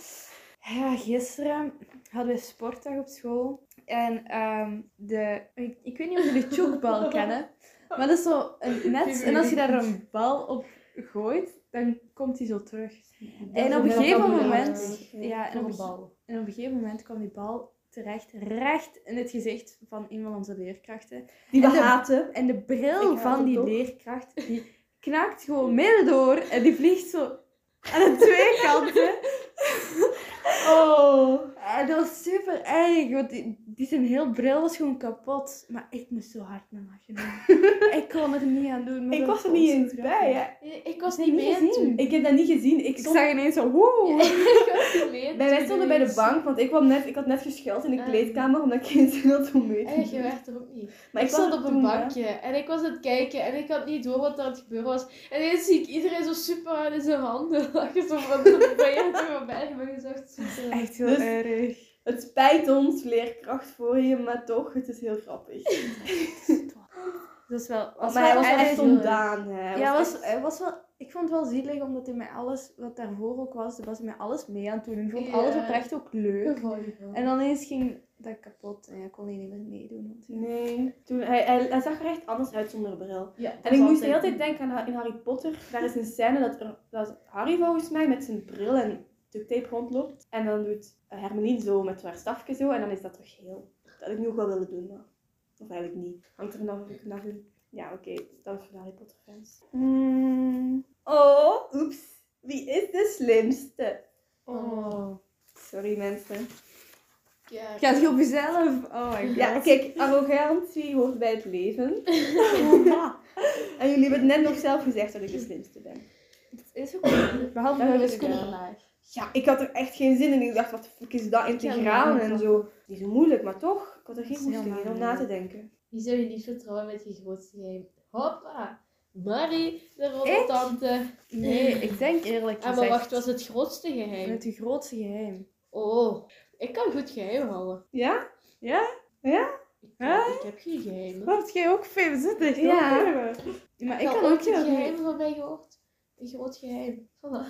Ja, gisteren hadden we sportdag op school. En ehm, de, ik, ik weet niet of jullie de chokbal kennen. Maar dat is zo een net. En als je daar een bal op gooit, dan komt die zo terug. en op een gegeven moment... Eh, Ja, en op, een ge- bal. en op een gegeven moment kwam die bal terecht, recht in het gezicht van een van onze leerkrachten. Die we En de- haten. En de Ik bril haat het van die ook. leerkracht, die knaakt gewoon midden door. En die vliegt zo aan de twee kanten. Oh. Ah, dat was super erg, want die, die zijn heel bril was gewoon kapot. Maar ik moest zo hard naar lachen. ik kon er niet aan doen. maar Ik dat was er niet eens zo bij. grappig. Hè. Ik was heb niet niet mee aan het gezien. doen. Ik heb dat niet gezien. Ik Ik stond... zag ineens zo, wow. Ik was niet mee aan het Bij wij doen stonden bij de ineens. bank, want ik, kwam net, ik had net geschuild in de Ah. kleedkamer omdat ik geen zin had om Ah, mee te Echt, doen. Eh, je werd er ook niet. Maar ik was zat er op een toen, hè. bankje en ik was aan het kijken en ik had niet door wat er aan het gebeuren was. En ineens zie ik iedereen zo super aan in zijn handen. Dat je zo van ben je er voorbij, maar je zag het super. Echt heel Dus- erg. Het spijt ons, leerkracht, voor je, maar toch, het is heel grappig. Dat is wel... Maar Was hij was wel echt erg. ontdaan. Hè. Hij Ja, was was, hij was wel, ik vond het wel zielig, omdat hij met alles, wat daarvoor ook was, daar was hij met alles mee aan het doen. Ik vond Ja. alles oprecht ook leuk. Gevoelig. En dan ineens ging dat kapot en hij kon hier niet meer meedoen. Want ja. Nee, toen, hij, hij, hij zag er echt anders uit zonder bril. Ja, En ik moest de hele tijd denken aan Ha- in Harry Potter. Daar is een scène dat, er, dat Harry volgens mij met zijn bril en duct tape rondloopt. En dan doet Hermeline zo met haar stafje zo. En dan is dat toch heel. Dat had ik nu ook wel willen doen, maar. Of eigenlijk niet. Hangt er vanaf of ik het nou doe. Ja, oké. Dat is voor de Harry Potter fans. Mm. Oh, oeps. Wie is de slimste? Oh. Sorry mensen. Ja. Gaat je op jezelf? Oh my god. Ja, kijk, arrogantie hoort bij het leven. en jullie hebben het net nog zelf gezegd dat ik de slimste ben. Het is ook Behalve Dat bij weet ik wiskunde wel. vandaag. Ja, ik had er echt geen zin in. Ik dacht, wat de fuck is dat integraal en zo. Niet zo moeilijk, maar toch. Ik had er Dat geen is heel moeite in om na makkelijk. te denken. Die zou je niet vertrouwen met je grootste geheim. Hoppa! Marie, de rottertante. Nee, ik denk eerlijk Ah, maar wacht, wat is het grootste geheim? Met je grootste geheim. Oh, ik kan goed geheim houden. Ja? Ik, Hè? ik heb geen geheimen. Wat jij ook veelzittig? Ja. Maar Ik ik heb kan ook ook heel het goed. geheim van mij gehoord. Een groot geheim. Voilà.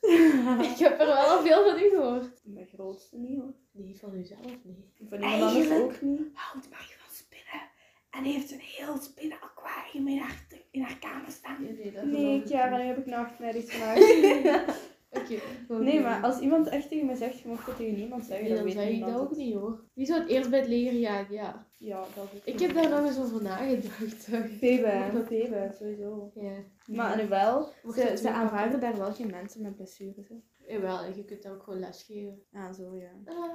ik heb er wel al veel van u gehoord. Mijn grootste niet hoor. Nee, van uzelf niet. Van iemand anders Eigenlijk- ook niet. Houdt Marie van spinnen. En heeft een heel spinnenaquarium in haar, in haar kamer staan. nee, dat Nee, geloof ik Chiara, niet. nu heb ik nou echt net iets gemaakt. Oké. Nee, maar als iemand echt tegen me zegt, je mag dat tegen niemand zeggen, Nee, dan dan weet zeg ik niemand dat ook het. niet hoor. Wie zou het eerst bij het leger gaan? Ja. Ja, dat is Ik heb daar nog eens over nagedacht. Thebe, Thebe, sowieso. Ja. Maar alhoewel, Mocht Ze, het ze doen, aanvaarden daar wel geen mensen met blessures. Hè? Jawel, en je kunt hem ook gewoon lesgeven. Ah, zo ja. Ah,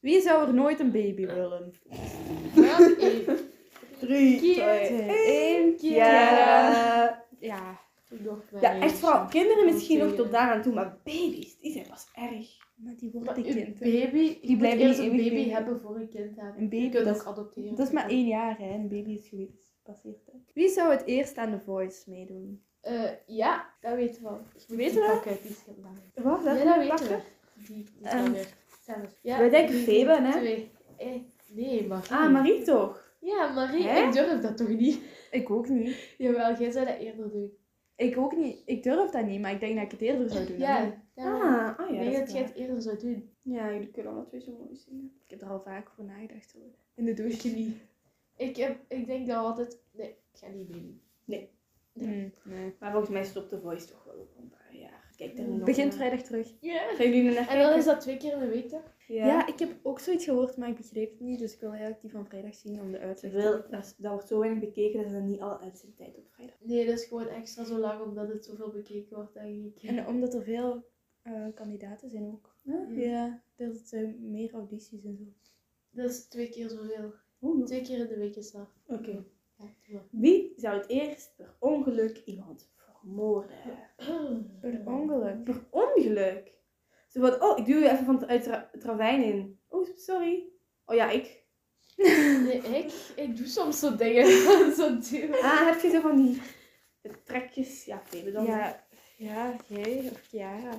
Wie zou er nooit een baby willen? ja. ik 3, Keer 2, 1, één, Chiara. Ja. doe nog wel Ja, echt eentje. vooral kinderen misschien nog tot Proberen. daaraan toe, maar baby's, die zijn pas erg. Maar die wordt Maar een een kind. hè. baby, die blijft blijft eerst niet een eeuwig baby leven. hebben voor een kind hebben. Een baby, je kunt dat ook is- adopteren. Dat is maar één jaar, hè? Een baby is dus gepasseerd. Hè? Wie zou het eerst aan de voice meedoen? Eh, ja, dat weten we al. Je Weet die je wel? pakken, die is heel belangrijk. Wat? Ja, dat weten we. Die, die Ehm, kan weer. zelf. Ja, Wij denken die Febe, hè? Twee. Eh, nee, Marie. Ah, Marie toch? Ja, Marie, Hè? ik durf dat toch niet? Ik ook niet. Jawel, jij zou dat eerder doen. Ik ook niet. Ik durf dat niet, maar ik denk dat ik het eerder zou doen. dan nu. Ja, daarom. Ah, ah oh Ik ja, denk dat dat is jij waar. het eerder zou doen. Ja, jullie kunnen alle twee zo mooi zingen. Ik heb er al vaak voor nagedacht. Hoor. In de douche. niet. Ik, heb, ik denk dat we altijd... Nee, ik ga niet meedoen. Hmm, nee. Maar volgens mij stopt de voice toch wel op een paar jaar. Kijk daar Mm. nog eh, Begint naar. vrijdag terug. Ja. Gaan jullie er naar En dan kijken? is dat twee keer in de week, toch? Ja. Ja. ik heb ook zoiets gehoord, maar ik begreep het niet. Dus ik wil eigenlijk die van vrijdag zien om de uitleg te Terwijl, dat, is- dat wordt zo weinig bekeken dat ze dan niet alle uitzendtijd op vrijdag. Nee, dat is gewoon extra zo lang, omdat het zoveel bekeken wordt, denk ik. En omdat er veel eh, kandidaten zijn ook. Huh? Ja, er zijn meer audities en zo. Dat is twee keer zoveel. Oeh. Twee keer in de week is dat. Oké. Ja, ja. Wie zou het eerst per ongeluk iemand vermoorden? Per ongeluk. Per ongeluk? Ze van, oh, ik duw je even van het uit tra- het ravijn in. Oh, sorry. Oh ja, ik. Nee, ik, ik doe soms zo dingen. zo duur. Ah, heb je zo van die de trekjes? Ja, Febe dan. Ja, ja, jij of Chiara.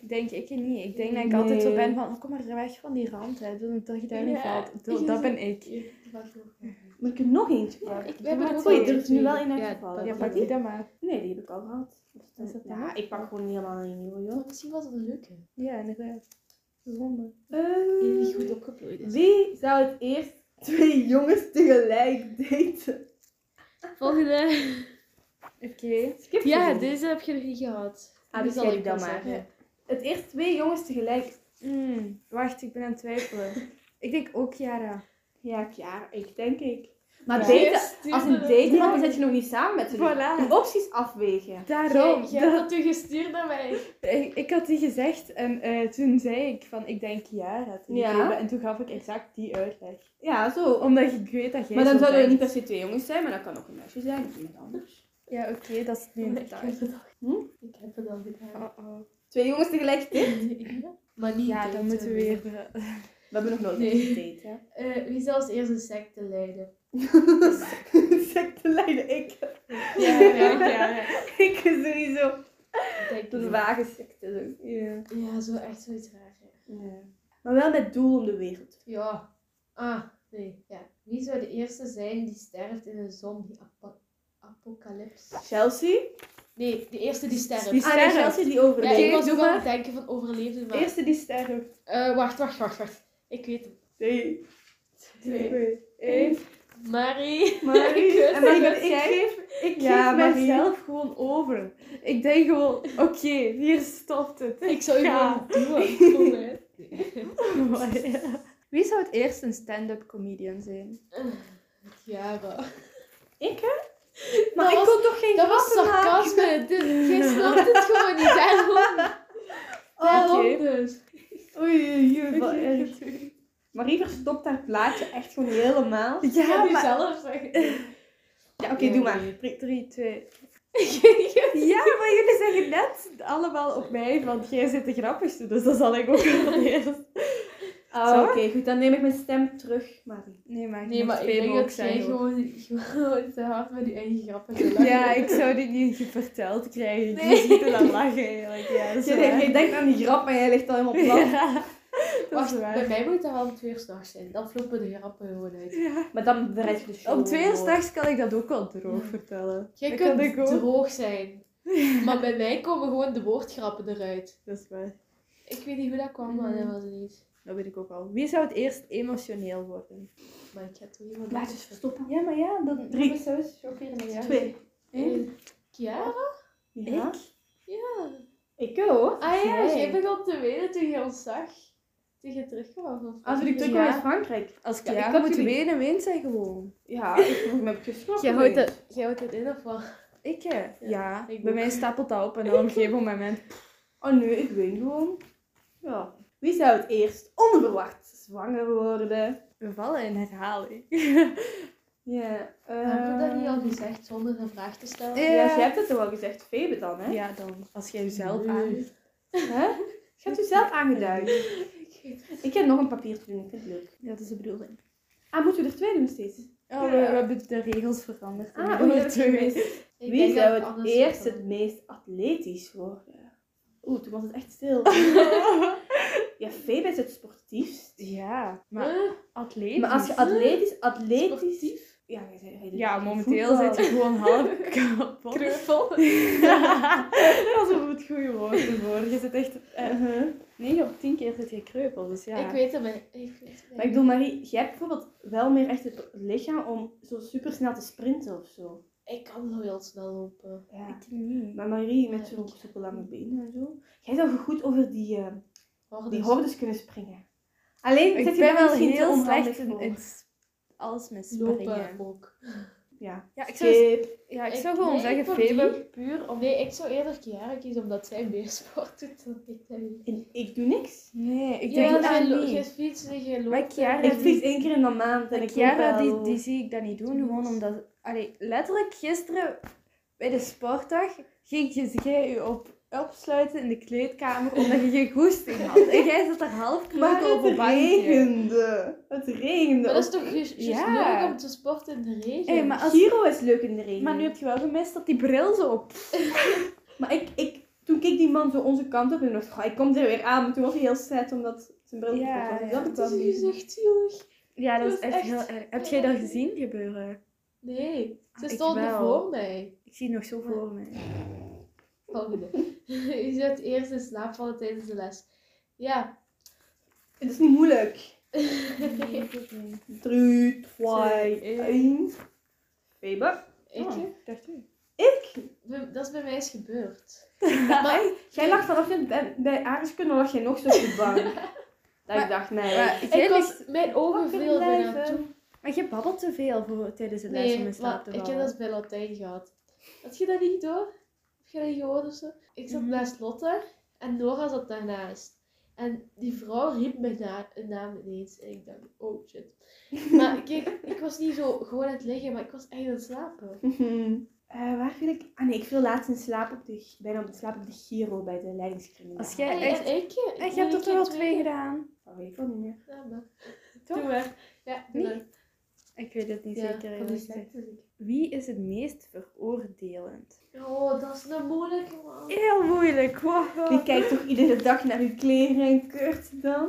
Ik denk ik niet. Ik denk dat ik altijd zo Nee. ben van, kom maar weg van die rand, hè. Doe dat je daar niet Ja, valt. Dat, ik- dat ben ik. Hier, wacht nog. Moet ik er nog eentje Ja, pakken? ik we hebben maar er ook twee. al Er is nu twee. wel één Ja, uitgevallen. Ja, dat pak is- die dan maar. Nee, die heb ik al gehad. Is dus dat ja, waar? ik pak gewoon helemaal een nieuwe, joh. Misschien was het een leuke. Ja, inderdaad. Zonde. Eh, Die goed opgeplooid is. wie zou het eerst twee jongens tegelijk daten? Volgende. Oké. Skip Ja, dit. deze heb je nog niet gehad. Ah, Die dus zal jij ik die dan wel maar. zeggen. Het eerst twee jongens tegelijk Hmm, Mm, wacht, ik ben aan het twijfelen. ik denk ook Chiara. Ja, ja, ik denk ik. Maar Ja. daten, Yes, stuurde Ah, als een dat. date want dan zit je nog niet samen met ze. Dus Voilà. je opties afwegen. Daarom. Jij, jij hebt dat toen gestuurd naar mij. Ik, Eh, ik had die gezegd en eh, toen zei ik van, ik denk Chiara. Toen Ja. gegeven, en toen gaf ik exact die uitleg. Ja, zo. Omdat ik weet dat jij maar dan zo zouden we niet denkt. per se twee jongens zijn, maar dat kan ook een meisje zijn of iemand anders. Ja, oké, dat is nu Maar ik inderdaad. heb het al, Hm? ik heb het al gedaan. Oh, oh. Twee jongens tegelijk daten? Maar niet Ja, dan daten. moeten we weer... We hebben nog nooit Nee. gedate, hè? Eh, wie zal als eerst een secte leiden? Zeg te leiden, ik. Ja, ja, ja. Ik sowieso. Denk Door de ik. wagensecte. Ja. Ja, zo echt zoiets raar. Ja. ja. Maar wel met doel om de wereld. te ja. Ah, nee. Ja. Wie zou de eerste zijn die sterft in een zombie-apocalypse? Chelsea? Nee, de eerste die sterft. Die Ah, nee, sterft. Chelsea die ja, overleeft. ik was doe ook aan maar. het denken van overleven, maar... eerste die sterft. Eh, wacht, wacht, wacht, wacht. Ik weet het. Nee. Twee. Eén. Marie. Marie. Kut. En Marie, Ik ik geef, ik Ja, geef Marie. mezelf gewoon over. Ik denk gewoon, oké, hier stopt het. Ik zou je Ja. gewoon doen. kom, hè. Wie zou het eerst een stand-up comedian zijn? Chiara. Maar Dat ik was- kon toch geen Dat was grappen maken? sarcasme. Dit, jij snapt het gewoon niet. Daarom. Oh, Daarom Oké. dus. Oei, oei, oei, wat erg. Marie verstopt haar plaatje echt gewoon helemaal. Ja, Ja, nu maar... zelf zeggen. Ja, oké, Ja, doe maar. nee. 3, 2. Ja, maar jullie zeggen net allemaal op mij, want jij zit de grappigste, dus dat zal ik ook wel eerst. Zo? Oh, oké, goed, dan neem ik mijn stem terug, Marie. Nee, maar, je Nee, moet maar ik twee denk ook dat jij zijn, hoor. gewoon, gewoon te hard met die eigen grappen Ja, ik zou dit niet verteld Nee. krijgen. Ik moest niet te lang lachen, eigenlijk. Ja, dat is Jij waar. denkt, denkt aan die grap en jij ligt al helemaal plat. Ja, dat is Wacht, bij waar. mij moet het half twee uur s'nachts zijn. Dan floppen de grappen gewoon uit. Maar dan bereid je de show. Om twee voor. uur s'nachts kan ik dat ook wel droog vertellen. Jij Dat kunt kan ik ook. droog zijn. Maar bij mij komen gewoon de woordgrappen eruit. Dat is waar. Ik weet niet hoe dat kwam, maar dat was het niet. Dat weet ik ook al. Wie zou het eerst emotioneel worden? Maar ik heb toch iemand Plaatjes verstoppen. Ja, maar ja, dan... Drie. Drie. Zo is chockerend, ja. Twee. Eén. Chiara? Ja. Ja. Ik ook. Ah ja, Jij. jij begon te wenen toen je ons zag. Toen je terugkwam. van Als we die Frankrijk. terugkomen uit Frankrijk. Als ik Ja, ja, ik ja had moet jullie- wenen, weent zij gewoon. Ja, ik vroeg me heb geschrokken. Jij houdt het- jij houdt het in of wat? Ik, hè? Ja. ik Bij ook. mij stapelt dat op en dan op een gegeven moment... Oh nee, ik ween gewoon. Ja. Wie zou het eerst onverwacht zwanger worden? We vallen in herhaling. Ja. Hebben we Nou, dat niet al ehm, gezegd zonder een vraag te stellen? Eh, Ja, Ja. jij hebt het toch al gezegd, Febe dan, hè? Ja, dan. Als jij jezelf Nee. aan... Hè? Je hebt u zelf aangeduid. Ik heb nog een papiertje doen, ik vind het leuk. Ja, dat is de bedoeling. Ah, moeten we er twee doen steeds? Oh, we, we hebben de regels veranderd. Ah, we oh, dat heb ik Wie Ik denk dat zou het anders eerst zou het meest atletisch worden? Oeh, toen was het echt stil. ja, Febe is het sportiefst. Ja, komen. maar Huh? atletisch. Maar als je atletisch, atletisch... Sportief? Ja, jij zei- jij doet Ja, het momenteel voetbal. zit je gewoon half kapot. Kreupel. Dat is een goed goede woord ervoor. Je zit echt... eh, Uh-huh. 9 op 10 keer zit je kreupel, dus ja. Ik weet het bij- ik weet het Maar ik bij- bedoel, Marie, jij hebt bijvoorbeeld wel meer echt het lichaam om zo super snel te sprinten of zo. Ik kan zo heel snel lopen. Ja. Ik niet. Mm. Maar Marie, met zo'n super lange benen en zo. Jij zou goed over die, eh, Hordes. Dus- die hordes kunnen springen. Alleen, Ik zit je daar ben wel misschien te heel onhandig slecht in, voor. in s- alles met lopen springen. ook. Ja. Ja, ik zou, Skip. ja, ik Ik- zou gewoon nee, zeggen voor die- Febe puur om... Nee, ik zou eerder Chiara kiezen omdat zij meer sport doet dan ik. denk ik. En ik doe niks. Nee, ik Ja, denk jij lo- dat jij niet. fietst en jij loopt. Maar Chiara- ik fiets één keer in de maand en ik Chiara, loop wel. die, die zie ik dat niet doen, gewoon omdat... Allee, letterlijk gisteren bij de sportdag ging je, jij je op, opsluiten in de kleedkamer omdat je geen goesting had. En jij zat er half Maar kreupel op een het bankje. regende. Het regende. Maar dat is toch juist juist Ja. leuk om te sporten in de regen? Hey, maar, als, Giro is leuk in de regen. maar nu heb je wel gemist dat die bril zo op... Maar ik, ik, toen keek die man zo onze kant op en ik dacht, "Goh, ik kom er weer aan. Maar toen was hij heel sad omdat zijn bril Ja, kapot was. Dus ja. dat Het is kwam dus niet. echt zielig. Ja, dat Dat is is echt echt- heel erg. Heb jij dat gezien gebeuren? Nee, ze Ik stonden wel. voor mij. Ik zie het nog zo voor mij. Volgende. Je zet eerst in slaap vallen tijdens de les. Ja. Het is niet moeilijk. ik? Drie, twee, Twee, één. Febe. hè? dacht u. Ik? Bij- Dat is bij mij eens gebeurd. Maar jij lag vanochtend bij, bij aardrijkskunde lag jij nog zo op de bank. dat ik Maar- dacht, nee. Maar Ik jij, ligt- was, mijn ogen Wakker veel bijna blijven. toe. maar jij babbelt te veel voor, tijdens de les om in Nee, slaap maar te ik vallen. heb dat bij Latijn gehad. Had je dat niet door? Heb je dat niet gehoord of zo? Ik zat Mhm. naast Lotte en Nora zat daarnaast. En die vrouw riep mijn na- naam ineens. En ik dacht, oh shit. Maar kijk, ik was niet zo gewoon aan het liggen, maar ik was echt aan het slapen. Mhm. Eh, waar viel ik? Ah nee, ik viel laatst in slaap op de, bijna op de slaap op de Giro bij de leidingscrimineel. Als jij En echt... en ik, ik En je hebt er toch wel twee gedaan? Dat weet ik wel niet meer. Ja, maar. Toch? Doe maar. Ja, doe Niet? maar. Ik weet het niet Ja, zeker. dat eerlijk is gezegd. echt moeilijk. Wie is het meest veroordelend? Oh, dat is een moeilijke man. Heel moeilijk. Wow. Je kijkt toch iedere dag naar uw kleren en keurt ze dan?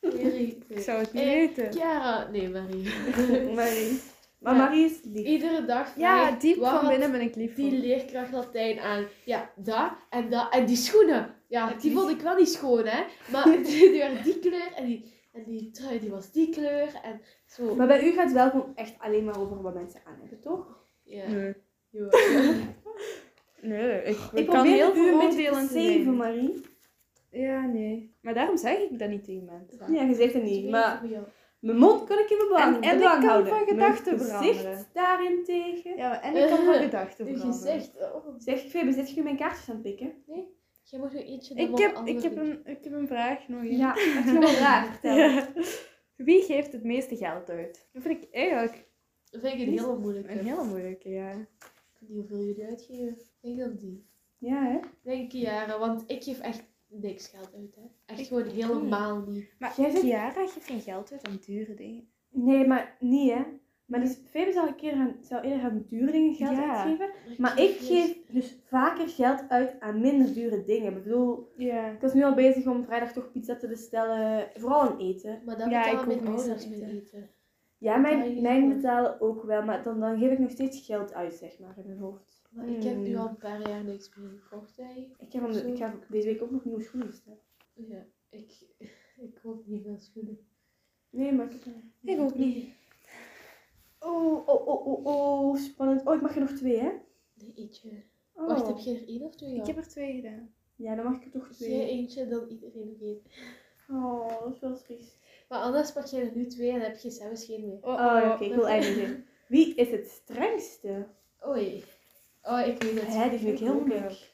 Ik zou het niet Eh, weten. Chiara, nee Marie. Marie. Maar Ja. Marie is lief. Iedere dag vraag Ja, ik, diep wat van had binnen ben ik lief voor. die leerkracht Latijn aan. Ja, dat en dat. En die schoenen. Ja, die vond ik wel niet schoon, hè. Maar die, die waren die kleur en die, en En die trui die was die kleur. En zo. Maar bij u gaat het wel gewoon echt alleen maar over wat mensen aan hebben, toch? Ja. Nee. Ja. Nee, ik, Ik kan probeer heel u een beetje veroordelend te zijn. zeven, Marie. Ja, nee. Maar daarom zeg ik dat niet tegen mensen. Ja, je zegt het Ik weet niet. niet Maar voor jou. mijn mond kan ik in mijn En- belang, en ik belang kan houden. van gedachten mijn veranderen. gezicht daarentegen. Ja, maar- en ik kan mijn gedachten Uw veranderen. gezicht. Oh, Zeg, ik vind, zit je nu mijn kaartjes aan het pikken? jij moet nu eentje dan Ik wat heb, ik, anders heb doen. een, ik heb een vraag nog. Ja, dat is nog wel raar. Vertel. Oh, Ja. Wie geeft het meeste geld uit? Dat vind ik eigenlijk Dat vind ik een hele moeilijke. een hele moeilijke, ja. Ik weet niet hoeveel jullie uitgeven. Ik denk dan die. Ja, hè? Ik Denk Kiara, want ik geef echt niks geld uit. Hè. Echt Ik gewoon helemaal niet. Maar Jij zit- Chiara geeft geen geld uit aan dure dingen. Nee, maar niet hè. Maar dus Febe zou, een keer gaan, zou eerder aan dure dingen geld Ja. uitgeven. Maar ik geef dus vaker geld uit aan minder dure dingen. Ik bedoel, Ja. ik was nu al bezig om vrijdag toch pizza te bestellen. Vooral aan eten. Maar daar Ja, betalen ik mijn ook meestal ouders mee eten. eten. Ja, Ja, mijn, ja. mijn betalen ook wel. Maar dan, dan geef ik nog steeds geld uit, zeg maar, in mijn hoofd. Maar ik heb nu Hmm. al een paar jaar niks meer gekocht. Hè. Ik heb, om de- ik heb deze week ook nog nieuwe schoenen bestellen. Ja, ik, ik koop niet veel schoenen. Nee, maar ik heb... Ik ook niet. Oh, oh, oh, oh, oh, spannend. Oh, ik mag er nog twee, hè? Nee, eentje. Oh. Wacht, heb je er één of twee? Ik heb er twee gedaan. Ja, dan mag ik er toch Jij twee. eentje, dan iedereen nog één. Oh, dat is wel triest. Maar anders pak jij er nu twee en heb je zelfs geen meer. Oh, Oh, oké, ik wil eindigen. Wie is het strengste? Oei. Oh, ik weet het. Hè, die vind ik heel moeilijk.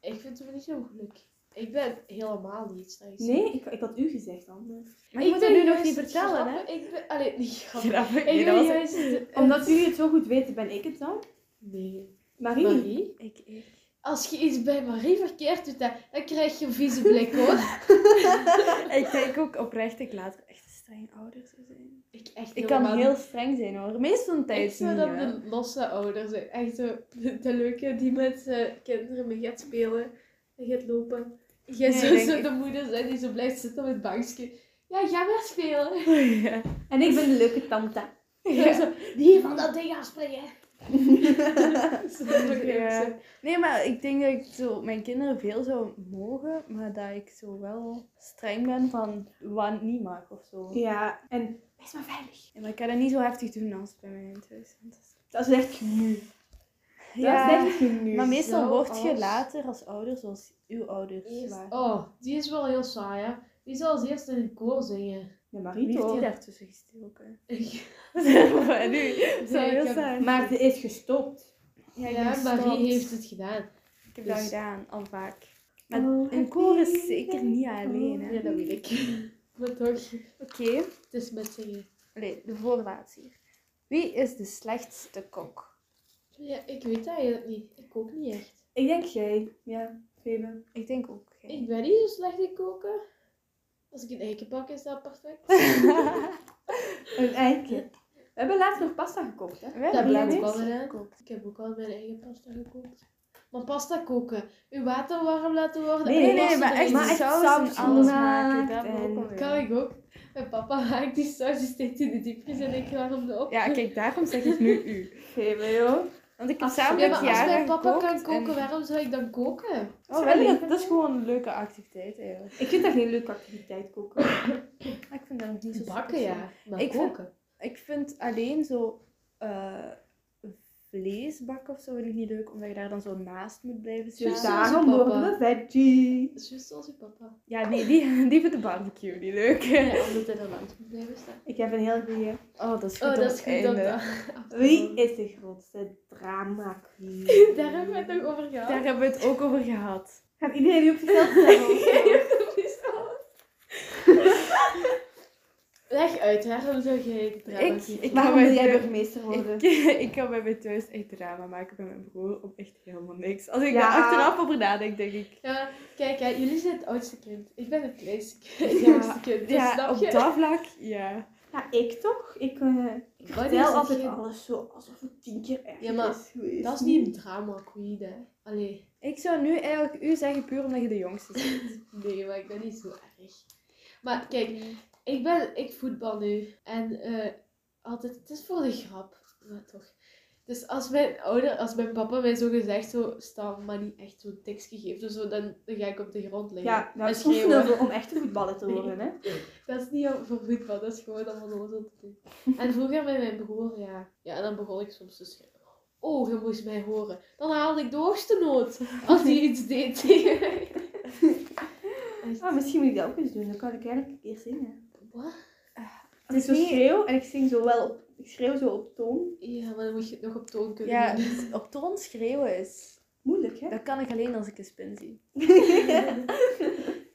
Ik vind het niet zo moeilijk. Ik ben helemaal niet straks. Nee, ik, ik had u gezegd anders. Maar je moet het nu nog niet vertellen, hè? hè? Ik ben... Allee, niet grappig. Grappig. Ik Nee, ben dat was- juist... eh, Omdat jullie het zo goed weten, ben ik het dan? Nee. Marie? Marie? Ik, ik. Als je iets bij Marie verkeerd doet, dan, dan krijg je een vieze blik, hoor. ik denk ook oprecht dat ik later echt een streng ouder zou zijn. Ik echt Ik kan helemaal heel streng zijn hoor. Meestal een Ik tijd zou niet, dan hè. de losse ouder zijn. Echt zo de, de leuke die met eh, kinderen mee gaat spelen en gaat lopen. Jij Nee, zou denk zo ik- de moeder zijn die zo blijft zitten op het bankje. Ja, ga maar spelen. Ja. En ik ben de leuke tante. Ja. Zo, die van dat ding afspringen. Zo, dat ook leuk Ja. zijn. Nee, maar ik denk dat ik zo mijn kinderen veel zou mogen, maar dat ik zo wel streng ben van wat niet mag of zo. Ja, en wees maar veilig. Ja, maar ik kan dat niet zo heftig doen als bij mij thuis. want dat is- Dat is echt nu. Dat Ja, is echt nu. maar meestal Zoals- word je later als ouder zoals uw ouders Eerst- waren. Oh, die is wel heel saai, hè? Die zal als eerste in een koor zingen. Ja, Marie Wie heeft toch? die daartussen gestoken? Ik- Maar nu, dat zou Nee, ik heel heb- saai. Maar ze is gestopt. Ja, ik ben Ja, gestopt. Marie heeft het gedaan. Ik heb dus- dat gedaan, al vaak. Maar En Een koor is zeker niet alleen, hè. Ja, dat weet ik. Maar toch, Oké, het is met zingen. Allee, de voorlaatste hier. Wie is de slechtste kok? Ja, ik weet dat eigenlijk niet. Ik ook niet echt. Ik denk jij. Ja, Febe. Ik denk ook jij. Ik ben niet zo slecht in koken. Als ik een eiken pak, is dat perfect. Een eikje. We hebben laatst nog pasta gekookt, hè? We Dat hebben blijft niks wel gedaan. gekookt. Ik heb ook al mijn eigen pasta gekookt. Maar pasta koken, uw water warm laten worden. Nee, en Nee, nee, nee, pasta maar echt erin. Maar maar echt saus, saus en alles gemaakt maken, dat hebben we en- ook alweer. kan ik ook. Mijn papa maakt die saus, die steekt in de diepvries en ik warm hem op. Ja, kijk, daarom zeg ik nu u. Febe, joh. Want ik heb Als- samen Ja, met maar als Jara mijn papa gekookt kan koken, en- waarom zou ik dan koken? Oh, wel, dat, dat is gewoon een leuke activiteit eigenlijk. Ik vind dat geen leuke activiteit, koken. Maar ik vind dat nog niet zo Bakken, speciaal. ja. Maar Ik vind- koken. Ik vind alleen zo eh vlees bakken of zo vind ik niet leuk, omdat je daar dan zo naast moet blijven Ja. Dus staan. daarom Papa. worden we veggie. Juist zoals uw papa. Ja, nee, die, die vindt de barbecue niet leuk. Ja, omdat hij er langs moet blijven staan. Ik heb een heel goede. Oh, dat is goed. Oh, op dat is het goed dat einde. dat. Wie is de grootste drama queen? Daar hebben we het nog over gehad. Daar hebben we het ook over gehad. Gaat iedereen nu op zichzelf stemmen? of zo? Leg uit, waarom zou jij het drama Ik, kiezen? ik Waarom kan wil mij jij terug- burgemeester worden? Ik, ik kan bij mij thuis echt drama maken bij mijn broer om echt helemaal niks. Als ik Ja. daar achteraf over nadenk, denk ik. Ja, kijk, hè, jullie zijn het oudste kind. Ik ben het kleinste kind. Het jongste kind. Dus Ja, snap op je? dat vlak, ja. Ja, ik toch? Ik eh Ik vertel tel altijd alles zo alsof het tien keer erg Ja, maar is geweest. Dat is niet een drama queen, hè. Allee, Ik zou nu eigenlijk u zeggen puur omdat je de jongste bent. nee, maar ik ben niet zo erg. Maar kijk, ik, ben, ik voetbal nu. En eh, altijd, het is voor de grap. Maar toch. Dus als mijn ouder, als mijn papa mij zo gezegd zo staan, maar niet echt zo'n tekstje geeft of zo, dan, dan ga ik op de grond liggen. Ja, nou, En het is niet schreeuwen. veel om echte voetballer te worden, hè? Dat is niet om- voor voetbal, dat is gewoon allemaal zo te doen. En vroeger met mijn broer, ja. Ja, en dan begon ik soms te schreeuwen. Oh, je moest mij horen. Dan haalde ik de hoogste noot als hij iets deed tegen mij. Echt. Ah, misschien moet ik dat ook eens doen. Dan kan ik eigenlijk een keer zingen. Wat? Als ik zo schreeuw en ik zing zo wel op... Ik schreeuw zo op toon. Ja, maar dan moet je het nog op toon kunnen Ja, doen. op toon schreeuwen is... Moeilijk, hè? Dat kan ik alleen als ik een spin zie.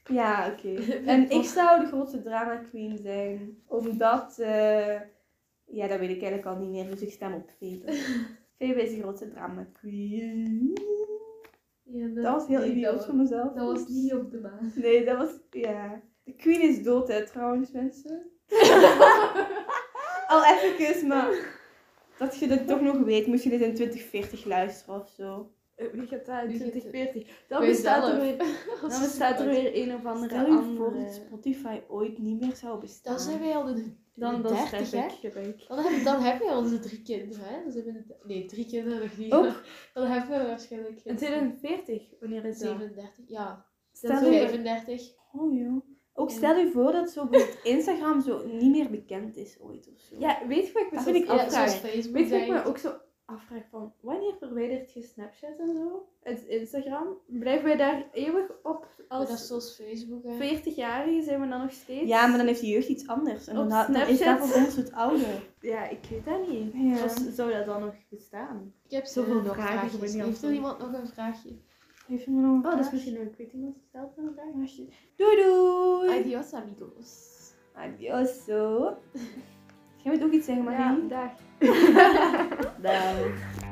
ja, oké. En ik zou de grote drama queen zijn. Omdat... eh, ja, dat weet ik eigenlijk al niet meer. Dus ik stem op Febe. Febe is de grote drama queen. Ja, Dat was heel nee, dat idioot was- van mezelf. Dat was niet op de baan. Nee, dat was... Ja. De queen is dood, hè, trouwens, mensen. Al even, maar... Dat je dit toch nog weet, moest je dit in 2040 luisteren of zo. Wie gaat daar in Wie gaat- 2040? Dan Bij bestaat, er zelf. weer, dan bestaat er weer een of andere Stel je voor andere... dat Spotify ooit niet meer zou bestaan. Dan zijn wij al de... Dan, dan 30, sterf hè? ik, denk ik. Dan, heb, dan hebben we onze drie kinderen, hè? Dan zijn we de- nee, drie kinderen nog niet. Ook. Dan hebben we waarschijnlijk... In 2040? Wanneer is dat? 37, ja. Stel Zo je- 35. Oh, joh. Ook stel je voor dat zo bijvoorbeeld Instagram zo niet meer bekend is ooit of zo. Ja, weet je wat ik me Dat soms vind ik Ja, afvraag? zoals Facebook. Weet je wat denk ik me ook zo afvraag van... Wanneer verwijdert je Snapchat en zo? Het Instagram? Blijven wij daar eeuwig op? Maar dat is Als zoals Facebook. hè. 40-jarigen zijn we dan nog steeds? Ja, maar dan heeft de jeugd iets anders. En Op dan, dan is dat Snapchat. voor ons het oude. Ja, ik weet dat niet. Ja. Als- zou dat dan nog bestaan? Ik heb Zoveel zoveel nog vragen, ik vragen. weet niet Heeft antwoord. er iemand nog een vraagje? Heeft iemand nog een Oh, dat is vraag? misschien een quitting als zelf een vraag. Doei doei! Adios amigos. Adios. Jij moet ook iets zeggen, maar Ja, dag. Dag.